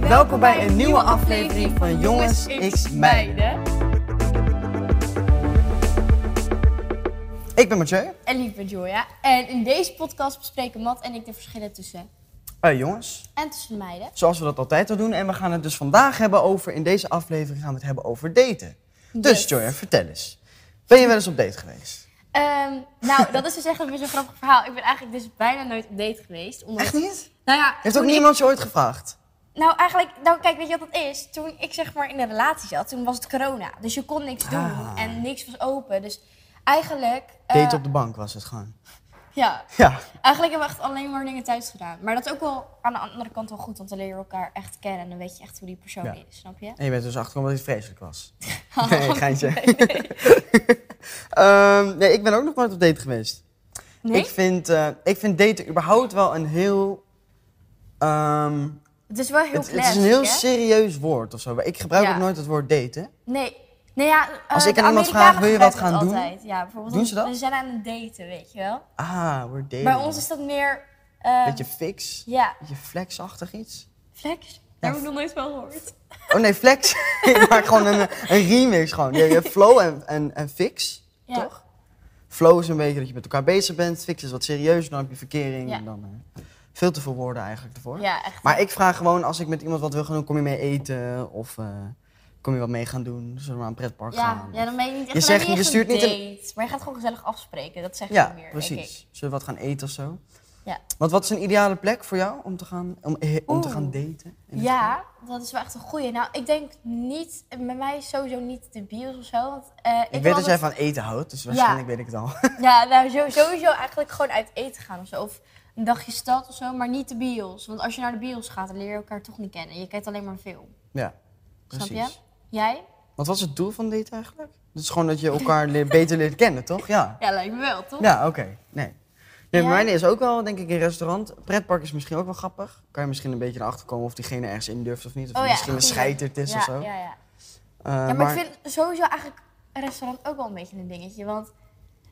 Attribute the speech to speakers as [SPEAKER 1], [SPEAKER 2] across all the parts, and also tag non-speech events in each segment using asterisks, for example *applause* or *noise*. [SPEAKER 1] Welkom bij een nieuwe aflevering van Jongens X Meiden. Ik ben Mathieu.
[SPEAKER 2] En lieve Joya. En in deze podcast bespreken Matt en ik de verschillen tussen
[SPEAKER 1] Hey jongens,
[SPEAKER 2] en tussen meiden.
[SPEAKER 1] zoals we dat altijd al doen. En we gaan het dus vandaag hebben over, in deze aflevering gaan we het hebben over daten. Dus
[SPEAKER 2] Yes.
[SPEAKER 1] Joy, vertel eens. Ben je wel eens op date geweest?
[SPEAKER 2] Ehm, nou, dat is dus echt weer zo'n grappig verhaal. Ik ben eigenlijk dus bijna nooit op date geweest. Omdat,
[SPEAKER 1] *laughs* Echt niet?
[SPEAKER 2] Nou ja,
[SPEAKER 1] Heeft
[SPEAKER 2] toen
[SPEAKER 1] ook
[SPEAKER 2] ik-
[SPEAKER 1] niemand je ooit gevraagd?
[SPEAKER 2] Nou, eigenlijk, nou kijk, weet je wat dat is? Toen ik zeg maar in een relatie zat, toen was het corona. Dus je kon niks doen
[SPEAKER 1] Ah.
[SPEAKER 2] en niks was open. Dus eigenlijk. eh,
[SPEAKER 1] Date op de bank was het gewoon.
[SPEAKER 2] Ja,
[SPEAKER 1] Ja.
[SPEAKER 2] eigenlijk hebben we echt alleen maar dingen thuis gedaan. Maar dat is ook wel aan de andere kant wel goed, want dan leer je elkaar echt kennen en dan weet je echt hoe die persoon
[SPEAKER 1] Ja.
[SPEAKER 2] is, snap je?
[SPEAKER 1] En je bent dus achtergekomen dat het vreselijk was. *laughs* Nee,
[SPEAKER 2] *laughs*
[SPEAKER 1] geintje. Ehm, nee, ik ben ook nog nooit op date geweest.
[SPEAKER 2] Nee?
[SPEAKER 1] Ik, vind, eh, ik vind daten überhaupt wel een heel. ehm,
[SPEAKER 2] Het is wel heel
[SPEAKER 1] het, het is
[SPEAKER 2] classic,
[SPEAKER 1] een heel
[SPEAKER 2] hè?
[SPEAKER 1] serieus woord of zo. Ik gebruik
[SPEAKER 2] Ja.
[SPEAKER 1] ook nooit het woord daten.
[SPEAKER 2] Nee. Nee, ja, eh,
[SPEAKER 1] Als ik
[SPEAKER 2] de
[SPEAKER 1] aan iemand vraag,
[SPEAKER 2] Amerikanen
[SPEAKER 1] wil je wat
[SPEAKER 2] gebruiken
[SPEAKER 1] gaan
[SPEAKER 2] het
[SPEAKER 1] doen?
[SPEAKER 2] Altijd. Ja, bijvoorbeeld
[SPEAKER 1] Doen ze dat?
[SPEAKER 2] We zijn aan het daten, weet je wel.
[SPEAKER 1] Ah, we're dating.
[SPEAKER 2] Bij ons is dat meer... eh,
[SPEAKER 1] Beetje fix.
[SPEAKER 2] Ja,
[SPEAKER 1] Beetje flexachtig iets.
[SPEAKER 2] flex.
[SPEAKER 1] Ja,
[SPEAKER 2] Daar heb ik nog nooit van gehoord.
[SPEAKER 1] Oh nee, flex. *laughs* ik maak gewoon een, een remix. Gewoon. Je hebt flow en, en, en fix.
[SPEAKER 2] Ja.
[SPEAKER 1] Toch? Flow is een beetje dat je met elkaar bezig bent. Fix is wat serieus. Dan heb je verkering.
[SPEAKER 2] Ja.
[SPEAKER 1] En dan, eh, veel te veel woorden eigenlijk ervoor.
[SPEAKER 2] Ja, echt.
[SPEAKER 1] Maar ik vraag gewoon, als ik met iemand wat wil gaan doen, kom je mee eten? Of eh, kom je wat mee gaan doen? Zullen we naar een pretpark
[SPEAKER 2] ja,
[SPEAKER 1] gaan?
[SPEAKER 2] ja, dan ben je niet echt
[SPEAKER 1] Je
[SPEAKER 2] dan
[SPEAKER 1] zegt
[SPEAKER 2] heb
[SPEAKER 1] niet, je
[SPEAKER 2] echt
[SPEAKER 1] stuurt niet een-
[SPEAKER 2] date. Maar je gaat gewoon gezellig afspreken. Dat zeg je
[SPEAKER 1] Ja,
[SPEAKER 2] meer, denk ik.
[SPEAKER 1] precies. Zullen we wat gaan eten of zo?
[SPEAKER 2] Ja.
[SPEAKER 1] Want wat is een ideale plek voor jou om te gaan, om, eh, om te
[SPEAKER 2] Oeh.
[SPEAKER 1] gaan daten? in dit geval?
[SPEAKER 2] Ja, dat is wel echt een goeie. Nou, ik denk niet... Bij mij is sowieso niet de bios of zo. Want, eh,
[SPEAKER 1] Ik,
[SPEAKER 2] heb
[SPEAKER 1] weet dat jij
[SPEAKER 2] altijd-
[SPEAKER 1] van eten houdt, dus waarschijnlijk weet ik het al. *laughs*
[SPEAKER 2] *laughs* Ja, nou zo- sowieso eigenlijk gewoon uit eten gaan of zo. Of een dagje stad of zo, maar niet de bios. Want als je naar de bios gaat, dan leer je elkaar toch niet kennen. Je kijkt alleen maar een film.
[SPEAKER 1] ja, precies.
[SPEAKER 2] Snap je? Jij?
[SPEAKER 1] Wat was het doel van daten eigenlijk? Dat is gewoon dat je
[SPEAKER 2] *laughs*
[SPEAKER 1] elkaar leert- beter leert kennen, toch? Ja.
[SPEAKER 2] Ja, lijkt me wel, toch?
[SPEAKER 1] Ja, oké. Nee. Nee, maar
[SPEAKER 2] Ja.
[SPEAKER 1] mijn is ook wel, denk ik, een restaurant. Pretpark is misschien ook wel grappig. Kan je misschien een beetje erachter komen of diegene ergens in durft of niet. Of misschien een
[SPEAKER 2] goeie.
[SPEAKER 1] scheiterd is
[SPEAKER 2] Oh ja,
[SPEAKER 1] of zo.
[SPEAKER 2] Ja, ja.
[SPEAKER 1] Eh,
[SPEAKER 2] ja maar,
[SPEAKER 1] maar-
[SPEAKER 2] ik vind sowieso eigenlijk een restaurant ook wel een beetje een dingetje. Want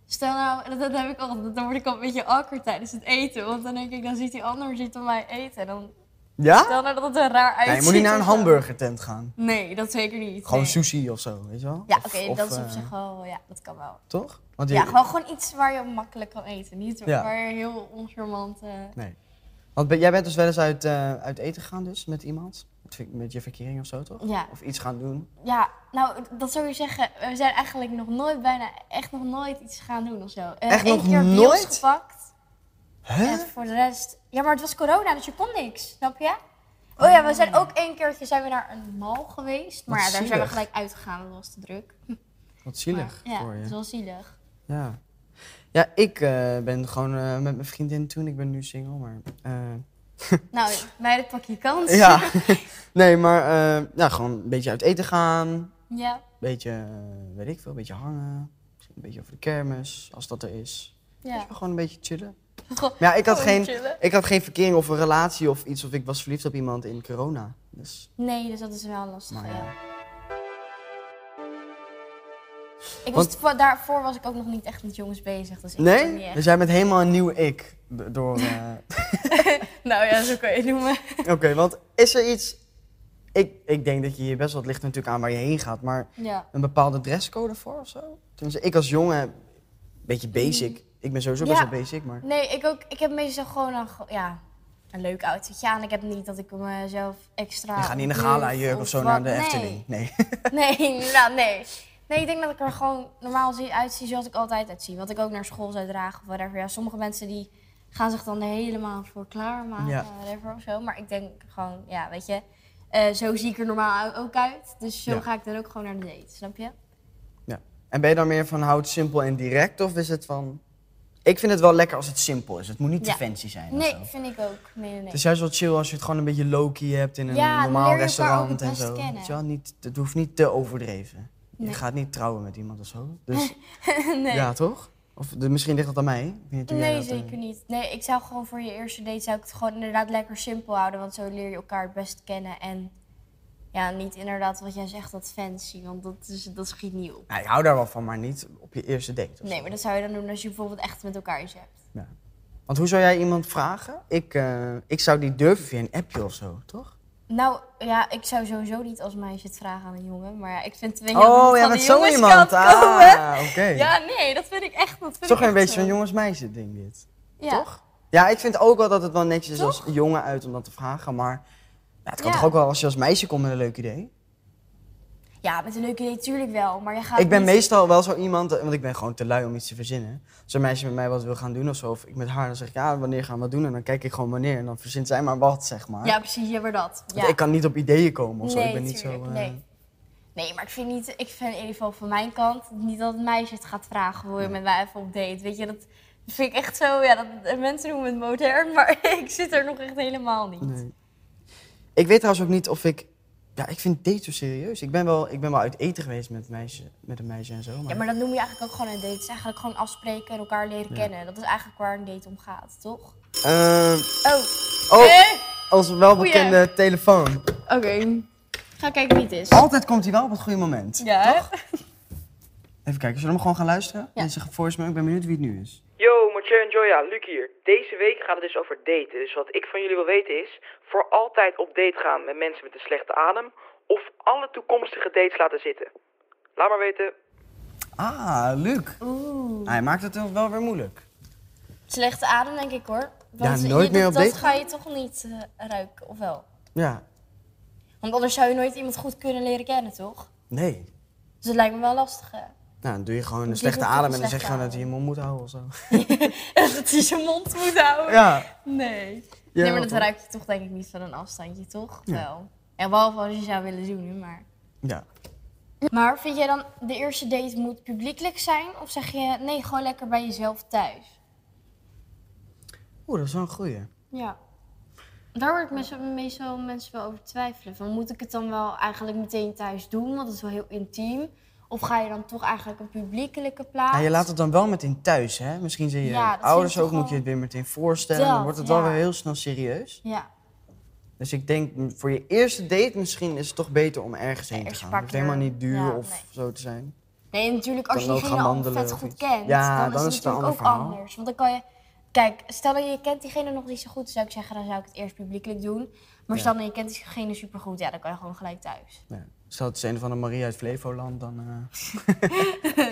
[SPEAKER 2] stel nou, dat, dat heb ik al, dan word ik al een beetje awkward tijdens het eten. Want dan denk ik, dan ziet die ander ziet op mij eten. En dan
[SPEAKER 1] Ja?
[SPEAKER 2] stel nou dat het er raar uitziet.
[SPEAKER 1] Nee, je moet niet naar een
[SPEAKER 2] of zo.
[SPEAKER 1] hamburgertent gaan.
[SPEAKER 2] Nee, dat zeker niet.
[SPEAKER 1] Gewoon
[SPEAKER 2] nee.
[SPEAKER 1] sushi of zo, weet je wel?
[SPEAKER 2] Ja,
[SPEAKER 1] Of-
[SPEAKER 2] oké,
[SPEAKER 1] of,
[SPEAKER 2] dat is op
[SPEAKER 1] eh,
[SPEAKER 2] zich wel, ja, dat kan wel.
[SPEAKER 1] Toch? Want
[SPEAKER 2] Ja,
[SPEAKER 1] je-
[SPEAKER 2] gewoon, gewoon iets waar je makkelijk kan eten. Niet
[SPEAKER 1] Ja.
[SPEAKER 2] waar je heel oncharmant... eh,
[SPEAKER 1] Nee. Want ben- jij bent dus wel eens uit, eh, uit eten gegaan dus, met iemand? Met, ver- met je verkering of zo, toch?
[SPEAKER 2] Ja.
[SPEAKER 1] Of iets gaan doen?
[SPEAKER 2] Ja, nou, dat zou je zeggen. We zijn eigenlijk nog nooit, bijna echt nog nooit iets gaan doen of zo. Eh,
[SPEAKER 1] Echt
[SPEAKER 2] één
[SPEAKER 1] nog
[SPEAKER 2] keer bios
[SPEAKER 1] nooit?
[SPEAKER 2] gepakt.
[SPEAKER 1] Hè?
[SPEAKER 2] En voor de rest... Ja, maar het was corona, dus je kon niks. Snap je? Oh ja, we zijn ook één keertje zijn we naar een mall geweest. Maar
[SPEAKER 1] Wat
[SPEAKER 2] ja, daar zijn we
[SPEAKER 1] zielig.
[SPEAKER 2] gelijk uitgegaan. Dat was te druk.
[SPEAKER 1] Wat zielig
[SPEAKER 2] Maar, ja,
[SPEAKER 1] voor je.
[SPEAKER 2] dat is wel zielig.
[SPEAKER 1] Ja. Ja, ik eh, ben gewoon eh, met mijn vriendin toen. Ik ben nu single, maar... eh,
[SPEAKER 2] nou, meiden, pak je kans.
[SPEAKER 1] ja. *laughs* nee, maar eh, ja, gewoon een beetje uit eten gaan. Een
[SPEAKER 2] *laughs* ja.
[SPEAKER 1] beetje, eh, weet ik veel, een beetje hangen. Misschien een beetje over de kermis, als dat er is.
[SPEAKER 2] ja.
[SPEAKER 1] Dus gewoon een beetje chillen.
[SPEAKER 2] *laughs* Gewoon-
[SPEAKER 1] Maar ja, ik had,
[SPEAKER 2] gewoon
[SPEAKER 1] geen,
[SPEAKER 2] chillen.
[SPEAKER 1] ik had geen verkering of een relatie of iets. Of ik was verliefd op iemand in corona. Dus,
[SPEAKER 2] Nee, dus dat is wel lastig.
[SPEAKER 1] maar
[SPEAKER 2] ja.
[SPEAKER 1] ja.
[SPEAKER 2] Ik
[SPEAKER 1] Want-
[SPEAKER 2] was, vo- daarvoor was ik ook nog niet echt met jongens bezig. Dus ik was ook niet
[SPEAKER 1] Nee?
[SPEAKER 2] echt-
[SPEAKER 1] Dus jij bent helemaal een nieuw ik. d- Door,
[SPEAKER 2] *laughs*
[SPEAKER 1] eh,
[SPEAKER 2] Nou ja, zo kan je het noemen.
[SPEAKER 1] Oké, want is er iets... Ik, ik denk dat je hier best wel... Het ligt natuurlijk aan waar je heen gaat, maar...
[SPEAKER 2] *laughs* Ja.
[SPEAKER 1] een bepaalde dresscode voor of zo? Tenminste, ik als jongen, een beetje basic. Ik ben sowieso best
[SPEAKER 2] Mm. Ja.
[SPEAKER 1] wel basic, maar...
[SPEAKER 2] Nee, ik ook. Ik heb meestal gewoon een, go- ja, een leuk outfitje aan. Ik heb niet dat ik mezelf extra...
[SPEAKER 1] Je gaat niet in een
[SPEAKER 2] doe
[SPEAKER 1] gala jurk of zo naar
[SPEAKER 2] wat.
[SPEAKER 1] de
[SPEAKER 2] Nee.
[SPEAKER 1] Efteling. Nee. *laughs*
[SPEAKER 2] Nee, *laughs* nou nee. Nee, ik denk dat ik er gewoon normaal zie, uitzie zoals ik altijd uitzie. Wat ik ook naar school zou dragen of whatever. Ja, sommige mensen die gaan zich dan er helemaal voor klaarmaken
[SPEAKER 1] Ja.
[SPEAKER 2] whatever of zo. Maar ik denk gewoon, ja, weet je... eh, zo zie ik er normaal ook uit. Dus zo
[SPEAKER 1] Ja.
[SPEAKER 2] ga ik dan ook gewoon naar de date, snap je?
[SPEAKER 1] En ben je dan meer van houd simpel en direct of is het van... Ik vind het wel lekker als het simpel is. Het moet niet te
[SPEAKER 2] Ja.
[SPEAKER 1] fancy zijn of
[SPEAKER 2] Nee,
[SPEAKER 1] zo.
[SPEAKER 2] vind ik ook. Nee, nee, nee.
[SPEAKER 1] Het is juist wel chill als je het gewoon een beetje low-key hebt in een
[SPEAKER 2] Ja, dan leer
[SPEAKER 1] normaal
[SPEAKER 2] je elkaar ook
[SPEAKER 1] restaurant
[SPEAKER 2] het
[SPEAKER 1] en
[SPEAKER 2] best
[SPEAKER 1] zo.
[SPEAKER 2] kennen.
[SPEAKER 1] Weet je wel, niet, het hoeft niet te overdreven. Je
[SPEAKER 2] Nee.
[SPEAKER 1] gaat niet trouwen met iemand of zo.
[SPEAKER 2] *laughs*
[SPEAKER 1] Dus, Ja, toch? Of de- misschien ligt dat aan mij. Ik weet niet hoe jij
[SPEAKER 2] Nee,
[SPEAKER 1] dat, eh,
[SPEAKER 2] zeker niet. Nee, ik zou gewoon voor je eerste date zou ik het gewoon inderdaad lekker simpel houden. Want zo leer je elkaar het best kennen. En ja, niet inderdaad wat jij zegt, dat fancy. Want dat, is, dat schiet niet op.
[SPEAKER 1] Nou, ik hou daar wel van, maar niet op je eerste date. of
[SPEAKER 2] Nee, maar dat zou je dan doen als je bijvoorbeeld echt met elkaar iets hebt.
[SPEAKER 1] Ja. Want hoe zou jij iemand vragen? Ik, eh, ik zou die durven via een appje of zo, toch?
[SPEAKER 2] Nou ja, ik zou sowieso niet als meisje het vragen aan een jongen. Maar ja, ik vind twee
[SPEAKER 1] oh,
[SPEAKER 2] ja,
[SPEAKER 1] jij bent zo iemand. Ah, oké.
[SPEAKER 2] Ja, nee, dat vind ik echt. Dat vind
[SPEAKER 1] Toch
[SPEAKER 2] ik
[SPEAKER 1] een
[SPEAKER 2] echt
[SPEAKER 1] beetje
[SPEAKER 2] zo.
[SPEAKER 1] zo'n jongensmeisje ding dit.
[SPEAKER 2] Ja.
[SPEAKER 1] Toch? Ja, ik vind ook wel dat het wel netjes is
[SPEAKER 2] Toch?
[SPEAKER 1] als jongen uit om dat te vragen, maar ja, het kan
[SPEAKER 2] Ja.
[SPEAKER 1] toch ook wel als je als meisje komt met een leuk idee.
[SPEAKER 2] Ja, met een leuke idee natuurlijk wel. Maar je gaat
[SPEAKER 1] ik ben
[SPEAKER 2] niet-
[SPEAKER 1] meestal wel zo iemand, eh, want ik ben gewoon te lui om iets te verzinnen. Als een meisje met mij wat wil gaan doen of zo, of ik met haar, dan zeg ik ja, wanneer gaan we wat doen? En dan kijk ik gewoon wanneer en dan verzint zij maar wat, zeg maar.
[SPEAKER 2] Ja, precies, ja, maar dat.
[SPEAKER 1] Want
[SPEAKER 2] Ja.
[SPEAKER 1] ik kan niet op ideeën komen of zo.
[SPEAKER 2] Nee,
[SPEAKER 1] ik ben niet zo.
[SPEAKER 2] tuurlijk,
[SPEAKER 1] eh,
[SPEAKER 2] nee. Nee, maar ik vind, niet, ik vind in ieder geval van mijn kant niet dat het meisje het gaat vragen hoe je met mij even op date. Weet je, dat vind ik echt zo. Ja, dat, mensen noemen het modern, *laughs* maar ik zit er nog echt helemaal niet.
[SPEAKER 1] nee. Ik weet trouwens ook niet of ik. Ja, ik vind dates zo serieus. Ik ben wel, ik ben wel uit eten geweest met, meisje, met een meisje en zo. Maar,
[SPEAKER 2] Ja, maar dat noem je eigenlijk ook gewoon een date. Het is eigenlijk gewoon afspreken en elkaar leren kennen. Dat is eigenlijk waar een date om gaat, toch?
[SPEAKER 1] Eh,
[SPEAKER 2] Oh,
[SPEAKER 1] oh,
[SPEAKER 2] eh?
[SPEAKER 1] onze welbekende telefoon.
[SPEAKER 2] Oké. Ga kijken wie het is.
[SPEAKER 1] Altijd komt hij wel op het goede moment.
[SPEAKER 2] Ja, hè?
[SPEAKER 1] Even kijken, zullen we hem gewoon gaan luisteren?
[SPEAKER 2] Ja.
[SPEAKER 1] Mensen voice me, ik ben benieuwd wie het nu is.
[SPEAKER 3] Yo, Mathieu en Joya, Luc hier. Deze week gaat het dus over daten. Dus wat ik van jullie wil weten is... voor altijd op date gaan met mensen met een slechte adem... of alle toekomstige dates laten zitten. Laat maar weten.
[SPEAKER 1] Ah, Luc.
[SPEAKER 2] Oeh.
[SPEAKER 1] Hij maakt het ons wel weer moeilijk.
[SPEAKER 2] Slechte adem, denk ik hoor. eh,
[SPEAKER 1] Ja, nooit
[SPEAKER 2] je-
[SPEAKER 1] meer
[SPEAKER 2] dat-
[SPEAKER 1] op
[SPEAKER 2] Dat
[SPEAKER 1] date
[SPEAKER 2] ga je toch niet eh, ruiken, of wel?
[SPEAKER 1] Ja,
[SPEAKER 2] Want anders zou je nooit iemand goed kunnen leren kennen, toch?
[SPEAKER 1] nee.
[SPEAKER 2] Dus dat lijkt me wel lastig. hè? *laughs*
[SPEAKER 1] Nou, dan doe je gewoon een
[SPEAKER 2] Doe
[SPEAKER 1] slechte
[SPEAKER 2] je toch
[SPEAKER 1] adem
[SPEAKER 2] een
[SPEAKER 1] en dan zeg
[SPEAKER 2] slechte
[SPEAKER 1] je gewoon dat
[SPEAKER 2] adem?
[SPEAKER 1] hij je mond moet houden of zo.
[SPEAKER 2] dat hij zijn mond moet houden.
[SPEAKER 1] Ja.
[SPEAKER 2] Nee.
[SPEAKER 1] Ja,
[SPEAKER 2] nee, maar
[SPEAKER 1] wat
[SPEAKER 2] dat
[SPEAKER 1] dan?
[SPEAKER 2] ruik je toch denk ik niet van een afstandje, toch? Wel. Ja, behalve als je zou willen zoenen, maar...
[SPEAKER 1] Ja.
[SPEAKER 2] Maar vind jij dan, de eerste date moet publiekelijk zijn? Of zeg je, nee, gewoon lekker bij jezelf thuis?
[SPEAKER 1] Oeh, dat is wel een goeie.
[SPEAKER 2] Ja. Daar hoor ik meestal, meestal mensen wel over twijfelen. Van, moet ik het dan wel eigenlijk meteen thuis doen? Want het is wel heel intiem. Of ga je dan toch eigenlijk een publiekelijke plaats?
[SPEAKER 1] Ja, Nou, je laat het dan wel meteen thuis, hè? Misschien zijn je
[SPEAKER 2] Ja, dat
[SPEAKER 1] ouders
[SPEAKER 2] vind
[SPEAKER 1] ook,
[SPEAKER 2] ik
[SPEAKER 1] moet je het weer meteen voorstellen.
[SPEAKER 2] Dat,
[SPEAKER 1] dan wordt het wel
[SPEAKER 2] ja.
[SPEAKER 1] weer heel snel serieus.
[SPEAKER 2] Ja.
[SPEAKER 1] Dus ik denk, m, voor je eerste date misschien is het toch beter om ergens heen te
[SPEAKER 2] eerst
[SPEAKER 1] gaan.
[SPEAKER 2] een
[SPEAKER 1] Het hoeft
[SPEAKER 2] paar keer-
[SPEAKER 1] helemaal niet duur
[SPEAKER 2] ja,
[SPEAKER 1] of
[SPEAKER 2] nee.
[SPEAKER 1] zo te zijn.
[SPEAKER 2] Nee, natuurlijk, als
[SPEAKER 1] Kan
[SPEAKER 2] je
[SPEAKER 1] ook
[SPEAKER 2] diegene
[SPEAKER 1] gaan
[SPEAKER 2] al
[SPEAKER 1] wandelen
[SPEAKER 2] vet
[SPEAKER 1] of
[SPEAKER 2] goed
[SPEAKER 1] iets.
[SPEAKER 2] kent,
[SPEAKER 1] Ja,
[SPEAKER 2] dan,
[SPEAKER 1] dan
[SPEAKER 2] is
[SPEAKER 1] is het
[SPEAKER 2] het
[SPEAKER 1] een
[SPEAKER 2] natuurlijk ook
[SPEAKER 1] ander verhaal.
[SPEAKER 2] anders. Want dan kan je... Kijk, stel dat je kent diegene nog niet zo goed, zou ik zeggen, dan zou ik het eerst publiekelijk doen. Maar
[SPEAKER 1] Ja.
[SPEAKER 2] stel dat je kent diegene supergoed, ja, dan kan je gewoon gelijk
[SPEAKER 1] *laughs*
[SPEAKER 2] thuis. *laughs*
[SPEAKER 1] Ja. Stel het is een van de Maria uit Flevoland, dan... eh, *laughs*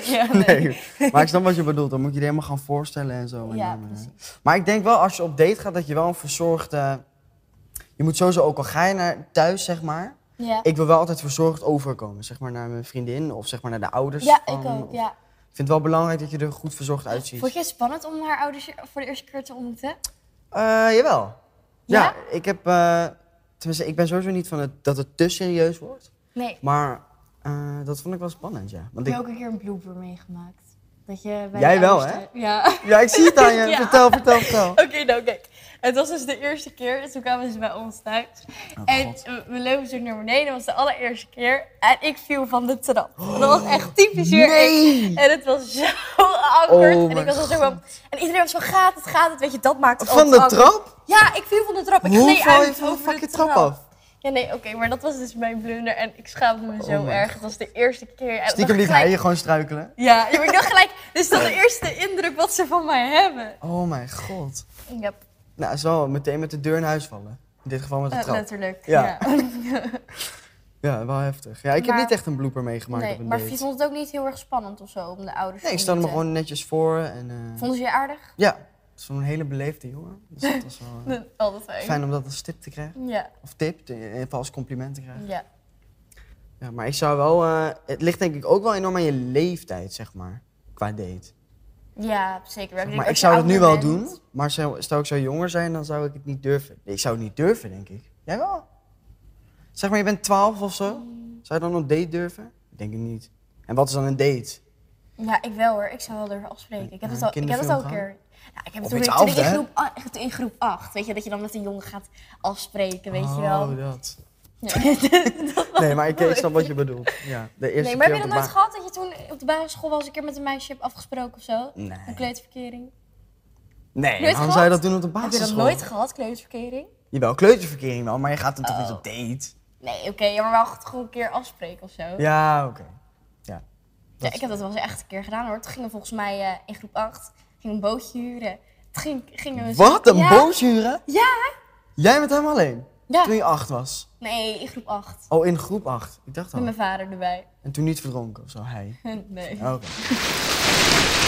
[SPEAKER 2] ja,
[SPEAKER 1] Nee, maar ik snap wat je bedoelt. Dan moet je die helemaal gaan voorstellen en zo. En
[SPEAKER 2] Ja,
[SPEAKER 1] dan, eh,
[SPEAKER 2] precies.
[SPEAKER 1] Maar ik denk wel, als je op date gaat, dat je wel een verzorgd... eh, je moet sowieso, ook al ga je naar thuis, zeg maar...
[SPEAKER 2] Ja,
[SPEAKER 1] Ik wil wel altijd verzorgd overkomen. Zeg maar naar mijn vriendin of zeg maar naar de ouders.
[SPEAKER 2] ja
[SPEAKER 1] Dus van-
[SPEAKER 2] ik ook,
[SPEAKER 1] of-
[SPEAKER 2] ja.
[SPEAKER 1] Ik vind het wel belangrijk dat je er goed verzorgd uitziet.
[SPEAKER 2] Vond je het spannend om haar ouders voor de eerste keer te ontmoeten?
[SPEAKER 1] Eh, jawel. Ja?
[SPEAKER 2] Ja?
[SPEAKER 1] ik heb... eh, tenminste, ik ben sowieso niet van het, dat het te serieus wordt.
[SPEAKER 2] Nee.
[SPEAKER 1] Maar eh, dat vond ik wel spannend, ja. Want
[SPEAKER 2] Ik
[SPEAKER 1] ik,
[SPEAKER 2] heb ook een keer een blooper meegemaakt. Dat je bij
[SPEAKER 1] Jij
[SPEAKER 2] de
[SPEAKER 1] wel,
[SPEAKER 2] ouders
[SPEAKER 1] hè?
[SPEAKER 2] thuis- Ja.
[SPEAKER 1] Ja, ik zie het aan je.
[SPEAKER 2] Ja.
[SPEAKER 1] Vertel, vertel, vertel.
[SPEAKER 2] *laughs* Oké, nou kijk. Het was dus de eerste keer. en Toen kwamen ze bij ons thuis. *laughs*
[SPEAKER 1] Oh,
[SPEAKER 2] en eh,
[SPEAKER 1] God.
[SPEAKER 2] we- we lopen zo naar beneden. Dat was de allereerste keer. En ik viel van de trap. dat was echt typisch weer
[SPEAKER 1] Oh. nee!
[SPEAKER 2] ik. En het was zo *laughs* awkward.
[SPEAKER 1] Oh
[SPEAKER 2] en ik
[SPEAKER 1] mijn
[SPEAKER 2] was al zo van... En iedereen was zo, gaat het, gaat het. Weet je, dat maakt het
[SPEAKER 1] Van de
[SPEAKER 2] altijd awkward.
[SPEAKER 1] trap?
[SPEAKER 2] Ja, ik viel van de trap. Ik
[SPEAKER 1] Hoe
[SPEAKER 2] gleed
[SPEAKER 1] val je
[SPEAKER 2] uit
[SPEAKER 1] van de
[SPEAKER 2] over de
[SPEAKER 1] fucking trap af?
[SPEAKER 2] Ja, nee, oké. maar dat was dus mijn blunder. En ik schaamde me zo
[SPEAKER 1] Oh my
[SPEAKER 2] erg. Het was de eerste keer. En
[SPEAKER 1] Stiekem
[SPEAKER 2] ik
[SPEAKER 1] liet
[SPEAKER 2] dacht
[SPEAKER 1] hij
[SPEAKER 2] Eh, gelijk-
[SPEAKER 1] je gewoon struikelen.
[SPEAKER 2] Ja, ja, maar ik dacht gelijk... Dit is dan de eerste indruk wat ze van mij hebben.
[SPEAKER 1] Oh mijn god.
[SPEAKER 2] Ja,
[SPEAKER 1] Nou, zo meteen met de deur in huis vallen. In dit geval met de
[SPEAKER 2] eh,
[SPEAKER 1] trap.
[SPEAKER 2] letterlijk.
[SPEAKER 1] Ja.
[SPEAKER 2] *laughs* ja.
[SPEAKER 1] Ja, wel heftig. Ja, ik heb
[SPEAKER 2] Maar-
[SPEAKER 1] niet echt een blooper meegemaakt op
[SPEAKER 2] Nee,
[SPEAKER 1] een
[SPEAKER 2] maar
[SPEAKER 1] date.
[SPEAKER 2] je vond het ook niet heel erg spannend of zo om de ouders
[SPEAKER 1] Nee, ik
[SPEAKER 2] te
[SPEAKER 1] stelde me
[SPEAKER 2] ontmoeten?
[SPEAKER 1] gewoon netjes voor en... eh,
[SPEAKER 2] Vonden ze je aardig?
[SPEAKER 1] Ja, zo'n hele beleefde jongen. Dus dat was wel eh,
[SPEAKER 2] Altijd fijn.
[SPEAKER 1] fijn om dat als tip te krijgen.
[SPEAKER 2] Ja,
[SPEAKER 1] Of tip, in ieder geval als compliment te krijgen.
[SPEAKER 2] ja.
[SPEAKER 1] Ja, maar ik zou wel... eh, het ligt denk ik ook wel enorm aan je leeftijd, zeg maar. Qua date.
[SPEAKER 2] Ja, zeker.
[SPEAKER 1] Zeg maar ik zou dat nu wel doen, maar zou- stel ik zou jonger zijn, dan zou ik het niet durven. Ik zou het niet durven, denk ik. Jij wel? Zeg maar, je bent 12 of zo. Zou je dan op date durven? Ik Denk ik niet. En wat is dan een date?
[SPEAKER 2] Ja, ik wel hoor. Ik zou wel durven afspreken. Ik heb
[SPEAKER 1] Ja,
[SPEAKER 2] het al, ik heb het al
[SPEAKER 1] kinderfilm
[SPEAKER 2] een keer. Ja, ik heb
[SPEAKER 1] Of
[SPEAKER 2] het toen,
[SPEAKER 1] iets
[SPEAKER 2] toen ik in
[SPEAKER 1] af, hè?
[SPEAKER 2] groep, a- echt in groep 8, weet je, dat je dan met een jongen gaat afspreken, weet je wel.
[SPEAKER 1] Oh, dat.
[SPEAKER 2] Ja. *laughs*
[SPEAKER 1] Nee, maar ik, ik snap wat je bedoelt. Ja, de eerste
[SPEAKER 2] nee, maar heb
[SPEAKER 1] keer
[SPEAKER 2] je
[SPEAKER 1] op
[SPEAKER 2] dat nooit
[SPEAKER 1] de
[SPEAKER 2] gehad dat je toen op de basisschool wel eens een keer met een meisje hebt afgesproken of zo?
[SPEAKER 1] Nee.
[SPEAKER 2] Een kleuterverkering.
[SPEAKER 1] ba- Nee,
[SPEAKER 2] nooit
[SPEAKER 1] waarom zou je
[SPEAKER 2] gehad?
[SPEAKER 1] dat doen op de
[SPEAKER 2] Heb je
[SPEAKER 1] basisschool?
[SPEAKER 2] dat nooit gehad, kleuterverkering?
[SPEAKER 1] Jawel, kleuterverkering wel, maar je gaat dan toch
[SPEAKER 2] Oh.
[SPEAKER 1] niet op date?
[SPEAKER 2] Nee, oké, ja, maar wel gewoon een keer afspreken of zo.
[SPEAKER 1] Ja, oké. Ja.
[SPEAKER 2] Ja, ik heb dat wel eens echt een keer gedaan hoor. Toen gingen we volgens mij eh, in groep 8 ging een bootje huren. Toen ging, gingen we zo-
[SPEAKER 1] Wat, een
[SPEAKER 2] Dus ja,
[SPEAKER 1] boosjuren?
[SPEAKER 2] Ja,
[SPEAKER 1] Jij bent helemaal alleen?
[SPEAKER 2] Ja.
[SPEAKER 1] Toen je acht was.
[SPEAKER 2] Nee, in groep 8.
[SPEAKER 1] Oh, in groep acht. Ik dacht
[SPEAKER 2] Met
[SPEAKER 1] al.
[SPEAKER 2] mijn vader erbij. *laughs*
[SPEAKER 1] En toen niet verdronken of zo, hij.
[SPEAKER 2] nee.
[SPEAKER 1] Oké. *laughs*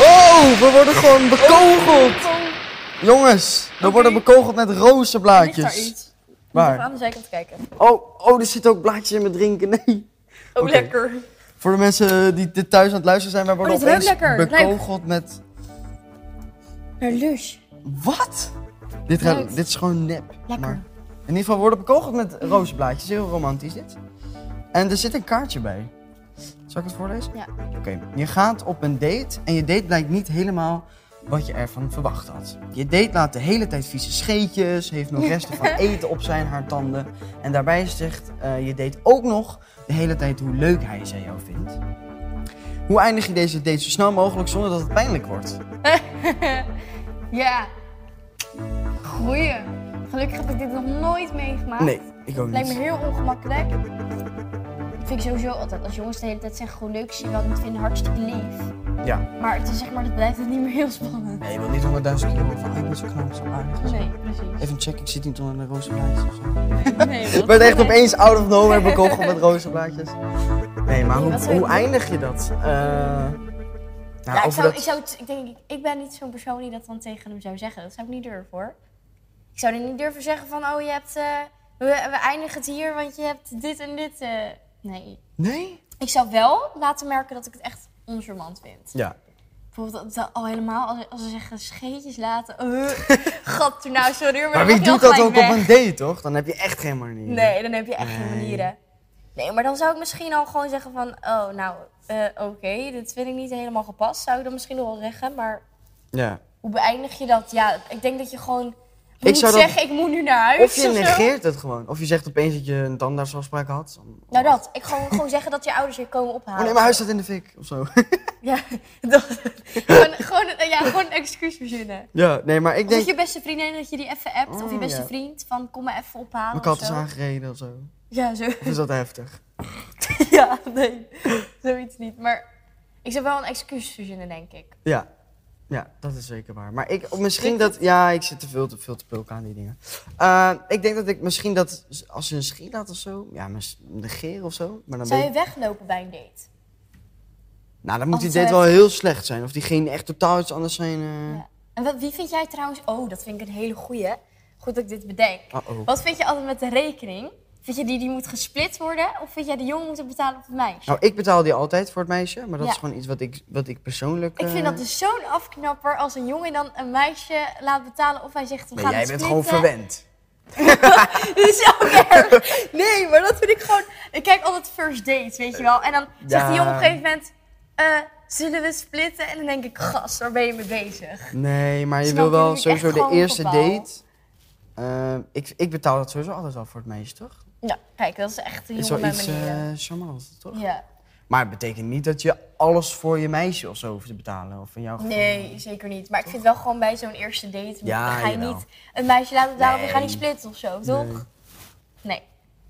[SPEAKER 1] Oh, we worden gewoon bekogeld.
[SPEAKER 2] Kom,
[SPEAKER 1] Jongens, we
[SPEAKER 2] Oké.
[SPEAKER 1] worden bekogeld met
[SPEAKER 2] ligt daar
[SPEAKER 1] rozenblaadjes.
[SPEAKER 2] iets. Moet even
[SPEAKER 1] Waar?
[SPEAKER 2] aan de zijkant kijken.
[SPEAKER 1] Oh, oh, er zitten ook blaadjes in mijn drinken. Nee.
[SPEAKER 2] Oh,
[SPEAKER 1] Oké.
[SPEAKER 2] lekker.
[SPEAKER 1] Voor de mensen die dit thuis aan het luisteren zijn, wij worden
[SPEAKER 2] Oh, dit ruikt
[SPEAKER 1] opeens
[SPEAKER 2] lekker.
[SPEAKER 1] bekogeld met...
[SPEAKER 2] Naar Lush.
[SPEAKER 1] Wat? Dit, ruikt-
[SPEAKER 2] Ruikt.
[SPEAKER 1] dit is gewoon nep.
[SPEAKER 2] Lekker.
[SPEAKER 1] Maar in ieder geval we worden bekogeld met rozenblaadjes. Heel romantisch dit. En er zit een kaartje bij. Zal ik het voorlezen?
[SPEAKER 2] Ja.
[SPEAKER 1] Oké. Je gaat op een date en je date blijkt niet helemaal wat je ervan verwacht had. Je date laat de hele tijd vieze scheetjes, heeft nog resten van eten op zijn haar tanden. En daarbij zegt eh, je date ook nog de hele tijd hoe leuk hij zij jou vindt. Hoe eindig je deze date zo snel mogelijk zonder dat het pijnlijk wordt?
[SPEAKER 2] Ja. Goeie. Gelukkig heb ik dit nog nooit meegemaakt.
[SPEAKER 1] Nee, ik ook
[SPEAKER 2] Ah. Lijkt me
[SPEAKER 1] niet.
[SPEAKER 2] heel ongemakkelijk. Dat vind ik sowieso altijd. Als jongens de hele tijd zeggen gewoon leuk, zie je wel, ik moet vinden hartstikke lief.
[SPEAKER 1] Ja.
[SPEAKER 2] Maar het is zeg maar, dat blijft het niet meer heel spannend.
[SPEAKER 1] Nee, je wilt niet 100.000 euro van, ah, ik ben zo knap, zo aardig. en zo.
[SPEAKER 2] Nee, precies.
[SPEAKER 1] Even checken, ik zit niet onder een rozenblaadjes of zo.
[SPEAKER 2] Nee,
[SPEAKER 1] Ik werd echt opeens out of nowhere bekogeld met rozenblaadjes. Nee, maar hoe,
[SPEAKER 2] Wat zou je
[SPEAKER 1] hoe
[SPEAKER 2] doen?
[SPEAKER 1] eindig je dat? Eh, nou,
[SPEAKER 2] Ja, ik,
[SPEAKER 1] over
[SPEAKER 2] zou,
[SPEAKER 1] dat...
[SPEAKER 2] ik, zou, het- ik, denk, ik ben niet zo'n persoon die dat dan tegen hem zou zeggen. Dat zou ik niet durven hoor. Ik zou niet durven zeggen van, oh je hebt, eh, we, we eindigen het hier, want je hebt dit en dit. eh. Nee.
[SPEAKER 1] Nee?
[SPEAKER 2] Ik zou wel laten merken dat ik het echt oncharmant vind.
[SPEAKER 1] Ja.
[SPEAKER 2] Bijvoorbeeld dat- dat al helemaal, als, als ze zeggen scheetjes laten. eh *laughs* gat er nou, sorry hoor, maar,
[SPEAKER 1] Maar
[SPEAKER 2] dan
[SPEAKER 1] wie
[SPEAKER 2] mag je
[SPEAKER 1] doet
[SPEAKER 2] wel
[SPEAKER 1] dat ook
[SPEAKER 2] gelijk
[SPEAKER 1] op
[SPEAKER 2] weg.
[SPEAKER 1] een date, toch? Dan heb je echt geen manier.
[SPEAKER 2] Nee, dan heb je echt geen
[SPEAKER 1] Nee.
[SPEAKER 2] manieren. Nee, maar dan zou ik misschien al gewoon zeggen van, oh nou, eh, oké, dit vind ik niet helemaal gepast. Zou ik dan misschien nog wel zeggen, maar
[SPEAKER 1] Ja.
[SPEAKER 2] hoe beëindig je dat? Ja, ik denk dat je gewoon
[SPEAKER 1] Ik
[SPEAKER 2] moet
[SPEAKER 1] zou dat-
[SPEAKER 2] zeggen, ik moet nu naar huis
[SPEAKER 1] Of je
[SPEAKER 2] of zo.
[SPEAKER 1] negeert het gewoon. Of je zegt opeens dat je een tandartsafspraak had. Dan-
[SPEAKER 2] Nou dat, ik gewoon, gewoon zeggen dat je ouders je komen ophalen.
[SPEAKER 1] Oh nee, mijn huis staat in de fik, of zo. *laughs*
[SPEAKER 2] Ja, *laughs* dat, gewoon, gewoon, een- ja, gewoon een excuus verzinnen.
[SPEAKER 1] ja, nee, maar ik
[SPEAKER 2] Of dat
[SPEAKER 1] denk...
[SPEAKER 2] je beste vriendin, dat je die even appt. of je
[SPEAKER 1] Oh,
[SPEAKER 2] beste
[SPEAKER 1] ja.
[SPEAKER 2] vriend, van kom me even ophalen
[SPEAKER 1] Mijn kat
[SPEAKER 2] of
[SPEAKER 1] is
[SPEAKER 2] zo.
[SPEAKER 1] aangereden, of zo.
[SPEAKER 2] Ja, zo. *laughs*
[SPEAKER 1] Of is dat heftig?
[SPEAKER 2] ja, nee, zoiets niet. Maar ik zou wel een excuus verzinnen, denk ik.
[SPEAKER 1] Ja. Ja, dat is zeker waar. Maar ik, of misschien dat... Ja, ik zit te veel te, veel te pulken aan die dingen. Eh, ik denk dat ik misschien dat... Als je een schiet laat of zo... Ja, mis- negeren of zo. Maar dan
[SPEAKER 2] Zou
[SPEAKER 1] weet
[SPEAKER 2] je weglopen bij een date?
[SPEAKER 1] Nou, dan moet die
[SPEAKER 2] Als
[SPEAKER 1] date
[SPEAKER 2] het-
[SPEAKER 1] wel heel slecht zijn. Of diegene echt totaal iets anders zijn. eh.
[SPEAKER 2] Ja. En wat, wie vind jij trouwens... Oh, dat vind ik een hele goeie. Goed dat ik dit bedenk.
[SPEAKER 1] Uh-oh.
[SPEAKER 2] Wat vind je altijd met de rekening? Vind je die, die moet gesplit worden? Of vind jij de jongen moet het betalen op het meisje?
[SPEAKER 1] Nou, ik betaal die altijd voor het meisje. Maar dat
[SPEAKER 2] Ja.
[SPEAKER 1] is gewoon iets wat ik, wat ik persoonlijk...
[SPEAKER 2] Ik vind
[SPEAKER 1] eh,
[SPEAKER 2] dat dus zo'n afknapper als een jongen dan een meisje laat betalen of hij zegt we
[SPEAKER 1] Nee,
[SPEAKER 2] gaan
[SPEAKER 1] jij
[SPEAKER 2] het
[SPEAKER 1] bent
[SPEAKER 2] splitten.
[SPEAKER 1] gewoon verwend.
[SPEAKER 2] *laughs* Dit is ook erg. Nee, maar dat vind ik gewoon... Ik kijk altijd first dates, weet je wel. En dan zegt die jongen op een gegeven moment... eh, zullen we splitten? En dan denk ik, gast, waar ben je mee bezig?
[SPEAKER 1] Nee, maar je
[SPEAKER 2] Snap
[SPEAKER 1] wil
[SPEAKER 2] je? Je
[SPEAKER 1] wel
[SPEAKER 2] moet
[SPEAKER 1] sowieso
[SPEAKER 2] echt
[SPEAKER 1] de
[SPEAKER 2] gewoon
[SPEAKER 1] eerste
[SPEAKER 2] bepalen.
[SPEAKER 1] date... eh, ik, ik betaal dat sowieso altijd al voor het meisje, toch?
[SPEAKER 2] Nou, kijk, dat is echt een
[SPEAKER 1] Is
[SPEAKER 2] jongen
[SPEAKER 1] wel
[SPEAKER 2] bij
[SPEAKER 1] iets
[SPEAKER 2] manieren.
[SPEAKER 1] eh charmants, toch?
[SPEAKER 2] Ja.
[SPEAKER 1] Maar het betekent niet dat je alles voor je meisje of zo hoeft te betalen. Of in jouw geval.
[SPEAKER 2] Nee, zeker niet. Maar ik vind wel gewoon bij zo'n eerste date...
[SPEAKER 1] Ja,
[SPEAKER 2] ga je
[SPEAKER 1] jawel.
[SPEAKER 2] niet een meisje laten betalen of je gaat
[SPEAKER 1] Nee.
[SPEAKER 2] niet splitten of zo,
[SPEAKER 1] Nee.
[SPEAKER 2] toch? Nee.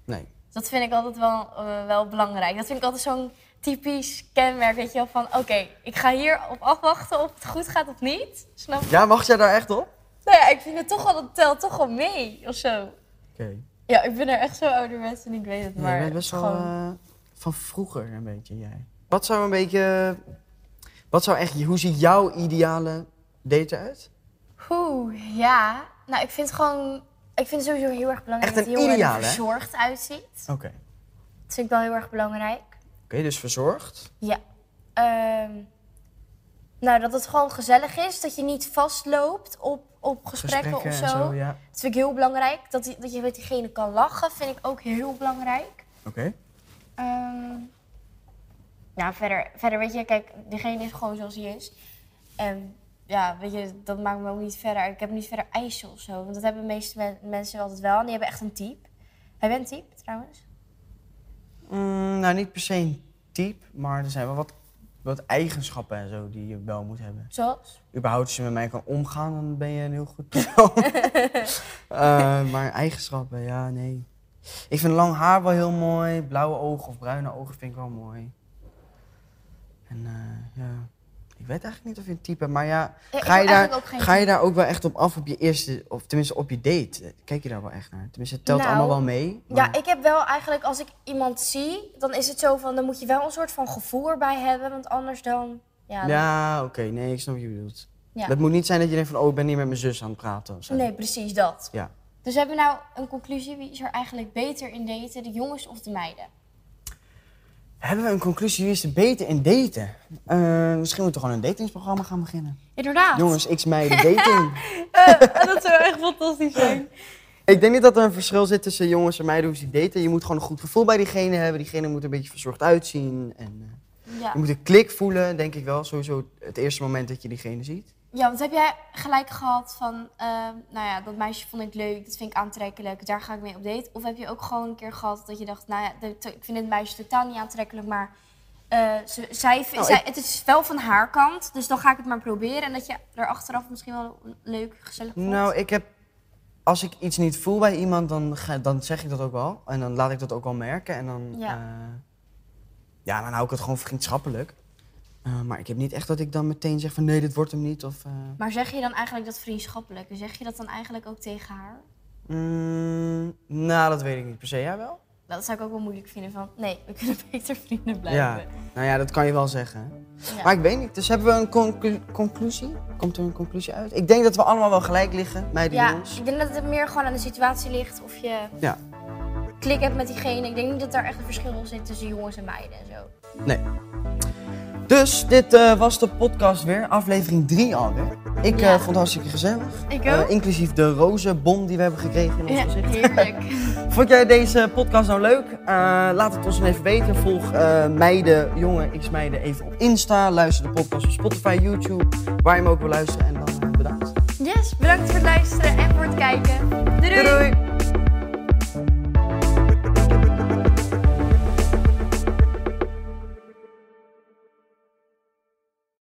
[SPEAKER 1] Nee.
[SPEAKER 2] Dat vind ik altijd wel, eh, wel belangrijk. Dat vind ik altijd zo'n typisch kenmerk, weet je wel. Van, oké, ik ga hier op afwachten of het goed gaat of niet. Snap je?
[SPEAKER 1] Ja, wacht jij daar echt op?
[SPEAKER 2] Nou ja, ik vind het toch wel, dat telt toch wel mee of zo.
[SPEAKER 1] Oké.
[SPEAKER 2] Ja, ik ben er echt zo ouderwets en ik weet het, maar
[SPEAKER 1] je bent best wel
[SPEAKER 2] gewoon...
[SPEAKER 1] eh, van vroeger een beetje jij. Wat zou een beetje. Wat zou echt. Hoe ziet jouw ideale date eruit? eh,
[SPEAKER 2] Oeh, ja. Nou, ik vind gewoon... Ik vind het sowieso heel erg belangrijk
[SPEAKER 1] Echt
[SPEAKER 2] dat
[SPEAKER 1] een
[SPEAKER 2] die jongen
[SPEAKER 1] ideaal,
[SPEAKER 2] er
[SPEAKER 1] hè?
[SPEAKER 2] verzorgd uitziet.
[SPEAKER 1] Oké.
[SPEAKER 2] Dat vind ik wel heel erg belangrijk.
[SPEAKER 1] Oké, dus verzorgd.
[SPEAKER 2] Ja. Ehm, nou, dat het gewoon gezellig is. Dat je niet vastloopt op, op gesprekken, of
[SPEAKER 1] en
[SPEAKER 2] zo.
[SPEAKER 1] ja.
[SPEAKER 2] Dat vind ik heel belangrijk. Dat, die, dat je met diegene kan lachen, vind ik ook heel belangrijk.
[SPEAKER 1] Oké.
[SPEAKER 2] Ehm, nou, verder, verder weet je, kijk, diegene is gewoon zoals hij is. En ja, weet je, dat maakt me ook niet verder. uit. Ik heb niet verder eisen of zo. Want dat hebben de meeste men- mensen altijd wel. En die hebben echt een type. Heb jij een type trouwens?
[SPEAKER 1] Mm, nou, niet per se een type, maar er zijn wel wat, wat eigenschappen en zo die je wel moet hebben.
[SPEAKER 2] Zoals?
[SPEAKER 1] überhaupt als je met mij kan omgaan, dan ben je een heel goed
[SPEAKER 2] *laughs*
[SPEAKER 1] persoon. Eh, maar eigenschappen, ja, nee. Ik vind lang haar wel heel mooi. Blauwe ogen of bruine ogen vind ik wel mooi. En eh, ja, ik Ik weet eigenlijk niet of je een type hebt, maar ja,
[SPEAKER 2] Eh, ik
[SPEAKER 1] ga je,
[SPEAKER 2] wil
[SPEAKER 1] daar,
[SPEAKER 2] eigenlijk ook geen
[SPEAKER 1] ga je daar ook wel echt op af op je eerste, of tenminste op je date? Kijk je daar wel echt naar? Tenminste, het telt
[SPEAKER 2] Nou,
[SPEAKER 1] allemaal wel mee.
[SPEAKER 2] Ja,
[SPEAKER 1] maar-
[SPEAKER 2] ik heb wel eigenlijk, als ik iemand zie, dan is het zo van, dan moet je wel een soort van gevoel erbij hebben, want anders dan, ja. dan-
[SPEAKER 1] Ja, oké, nee, ik snap wat je bedoelt.
[SPEAKER 2] Ja.
[SPEAKER 1] Dat moet niet zijn dat je denkt van, oh, ik ben niet met mijn zus aan het praten of zo.
[SPEAKER 2] Nee, precies dat.
[SPEAKER 1] Ja.
[SPEAKER 2] Dus we hebben nou een conclusie, wie is er eigenlijk beter in daten, de jongens of de meiden?
[SPEAKER 1] Hebben we een conclusie? Wie is er beter in daten? Eh, misschien moeten we gewoon een datingsprogramma gaan beginnen.
[SPEAKER 2] Inderdaad. Eh,
[SPEAKER 1] Jongens, x meiden dating.
[SPEAKER 2] dat zou echt fantastisch zijn.
[SPEAKER 1] ik denk niet dat er een verschil zit tussen jongens en meiden hoe ze daten. Je moet gewoon een goed gevoel bij diegene hebben. Diegene moet er een beetje verzorgd uitzien. En, eh,
[SPEAKER 2] Ja.
[SPEAKER 1] je moet een klik voelen, denk ik wel. Sowieso het eerste moment dat je diegene ziet.
[SPEAKER 2] ja, want heb jij gelijk gehad van, ehm, nou ja, dat meisje vond ik leuk, dat vind ik aantrekkelijk, daar ga ik mee op date? Of heb je ook gewoon een keer gehad dat je dacht, nou ja, de- ik vind dit meisje totaal niet aantrekkelijk, maar eh, ze, zij, vi-
[SPEAKER 1] Nou,
[SPEAKER 2] zij-
[SPEAKER 1] ik-
[SPEAKER 2] het is wel van haar kant, dus dan ga ik het maar proberen. En dat je er achteraf misschien wel leuk, gezellig vond.
[SPEAKER 1] Nou, ik heb. Als ik iets niet voel bij iemand, dan, ga- dan zeg ik dat ook wel. En dan laat ik dat ook wel merken. En dan.
[SPEAKER 2] Ja.
[SPEAKER 1] eh, ja, dan hou ik het gewoon vriendschappelijk. Eh, maar ik heb niet echt dat ik dan meteen zeg van nee, dit wordt hem niet. Of. eh,
[SPEAKER 2] Maar zeg je dan eigenlijk dat vriendschappelijke? Zeg je dat dan eigenlijk ook tegen haar?
[SPEAKER 1] mm, nou, dat weet ik niet per se. Jij wel?
[SPEAKER 2] Nou, Dat zou ik ook wel moeilijk vinden van, nee, we kunnen *laughs* beter vrienden
[SPEAKER 1] Ja.
[SPEAKER 2] blijven.
[SPEAKER 1] Nou ja, dat kan je wel zeggen.
[SPEAKER 2] Ja.
[SPEAKER 1] Maar ik weet niet. Dus hebben we een conclu- conclusie? Komt er een conclusie uit? Ik denk dat we allemaal wel gelijk liggen, meiden en
[SPEAKER 2] Ja,
[SPEAKER 1] jongens.
[SPEAKER 2] ik denk dat het meer gewoon aan de situatie ligt of je
[SPEAKER 1] Ja.
[SPEAKER 2] klik hebt met diegene. Ik denk niet dat daar echt een verschil zit tussen jongens en meiden en zo.
[SPEAKER 1] Nee. Dus dit eh, was de podcast weer, aflevering 3 alweer. Ik eh,
[SPEAKER 2] Ja.
[SPEAKER 1] vond het hartstikke gezellig.
[SPEAKER 2] Ik
[SPEAKER 1] Eh,
[SPEAKER 2] ook.
[SPEAKER 1] inclusief de rozenbom die we hebben gekregen in ons
[SPEAKER 2] Ja,
[SPEAKER 1] gezicht.
[SPEAKER 2] heerlijk.
[SPEAKER 1] Vond jij deze podcast nou leuk? Eh, laat het ons dan even weten. Volg eh, meiden, jongen, x meiden even op Insta. Luister de podcast op Spotify, YouTube, waar je hem ook wil luisteren. En dan eh, bedankt.
[SPEAKER 2] Yes, bedankt voor het luisteren en voor het kijken. doei! doei.
[SPEAKER 1] doei.